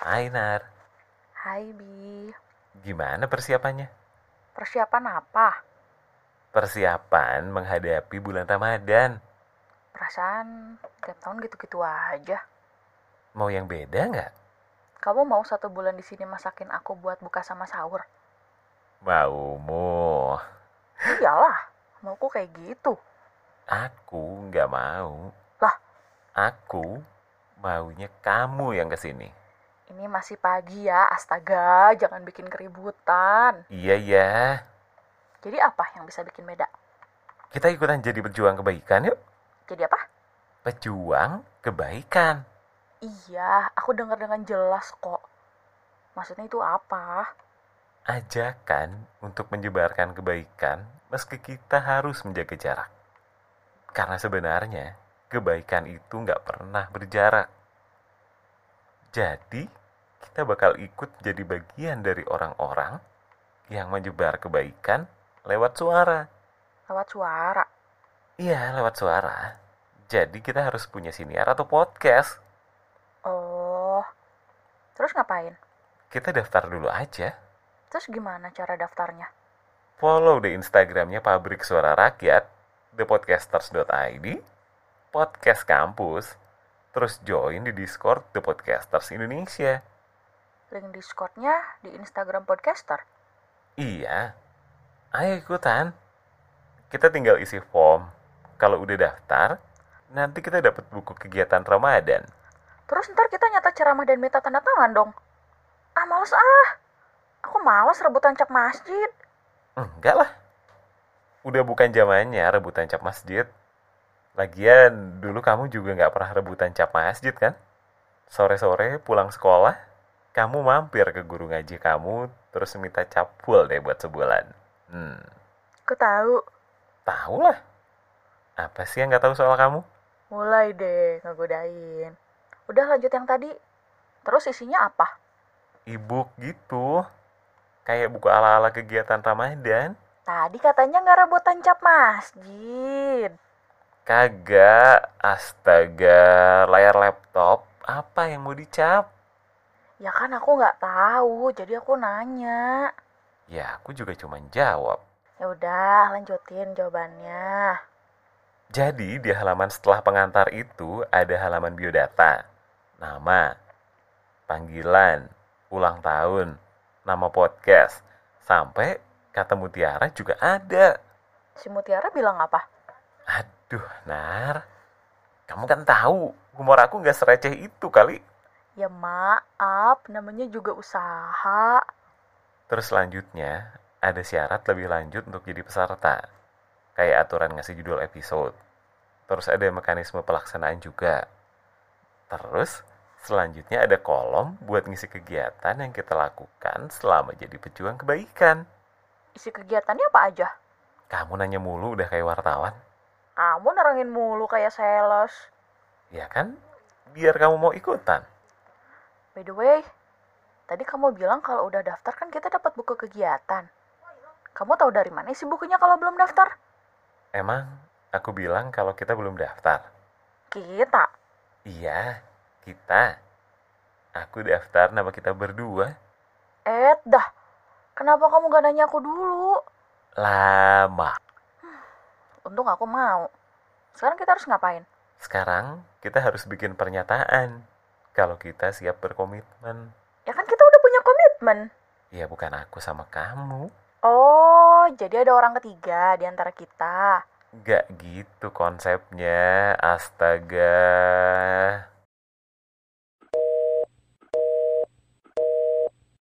Hai Nar, Hai Bi, gimana persiapannya? persiapan apa? Persiapan menghadapi bulan Ramadan. Perasaan tiap tahun gitu-gitu aja. Mau yang beda nggak? Kamu mau satu bulan di sini masakin aku buat buka sama sahur? Maumu, Iyalah, mauku kayak gitu. aku nggak mau. Lah? Aku maunya kamu yang kesini. Ini masih pagi ya, astaga, jangan bikin keributan. Iya ya, Jadi apa yang bisa bikin beda? kita ikutan jadi pejuang kebaikan yuk. Jadi apa? Pejuang kebaikan. Iya, aku dengar dengan jelas kok. Maksudnya itu apa? Ajakan untuk menyebarkan kebaikan meski kita harus menjaga jarak. Karena sebenarnya kebaikan itu nggak pernah berjarak. Jadi kita bakal ikut jadi bagian dari orang-orang yang menyebar kebaikan lewat suara. Lewat suara. Iya, lewat suara. Jadi kita harus punya siniar atau podcast. Oh, terus ngapain? Kita daftar dulu aja. Terus gimana cara daftarnya? Follow di Instagramnya Pabrik Suara Rakyat, thepodcasters.id, podcast kampus, terus join di Discord The Podcasters Indonesia. Link Discordnya di Instagram Podcaster. Iya, ayo ikutan. Kita tinggal isi form. Kalau udah daftar, nanti kita dapat buku kegiatan Ramadan. Terus ntar kita nyata ceramah dan minta tanda tangan dong. Ah males ah. Aku males rebutan cap masjid. Enggak lah. Udah bukan zamannya rebutan cap masjid. Lagian dulu kamu juga nggak pernah rebutan cap masjid kan? Sore-sore pulang sekolah, kamu mampir ke guru ngaji kamu terus minta capul deh buat sebulan. Hmm, Aku tahu. tahu lah. Apa sih yang nggak tahu soal kamu? Mulai deh ngegodain. Udah lanjut yang tadi. Terus isinya apa? Ibu gitu. Kayak buku ala-ala kegiatan Ramadan. Tadi katanya nggak rebutan cap masjid. Kagak, astaga, layar laptop. Apa yang mau dicap? Ya kan aku nggak tahu, jadi aku nanya. Ya, aku juga cuman jawab. Ya udah, lanjutin jawabannya. Jadi di halaman setelah pengantar itu ada halaman biodata, nama, panggilan, ulang tahun, nama podcast, sampai kata mutiara juga ada. Si Mutiara bilang apa? Aduh, Nar, kamu kan tahu humor aku nggak sereceh itu kali. Ya maaf, namanya juga usaha. Terus selanjutnya ada syarat lebih lanjut untuk jadi peserta, kayak aturan ngasih judul episode. Terus ada mekanisme pelaksanaan juga. Terus selanjutnya ada kolom buat ngisi kegiatan yang kita lakukan selama jadi pejuang kebaikan. Isi kegiatannya apa aja? Kamu nanya mulu udah kayak wartawan, Kamu nerangin mulu kayak sales. ya kan? Biar kamu mau ikutan. By the way, tadi kamu bilang kalau udah daftar kan kita dapat buku kegiatan. Kamu tahu dari mana isi bukunya kalau belum daftar? Emang aku bilang kalau kita belum daftar. Kita. Iya, kita. Aku daftar nama kita berdua. Eh, dah. Kenapa kamu gak nanya aku dulu? Lama. Untung aku mau. Sekarang kita harus ngapain? Sekarang kita harus bikin pernyataan kalau kita siap berkomitmen. Ya kan kita udah punya komitmen. Ya bukan aku sama kamu. Oh, jadi ada orang ketiga di antara kita. Gak gitu konsepnya. Astaga.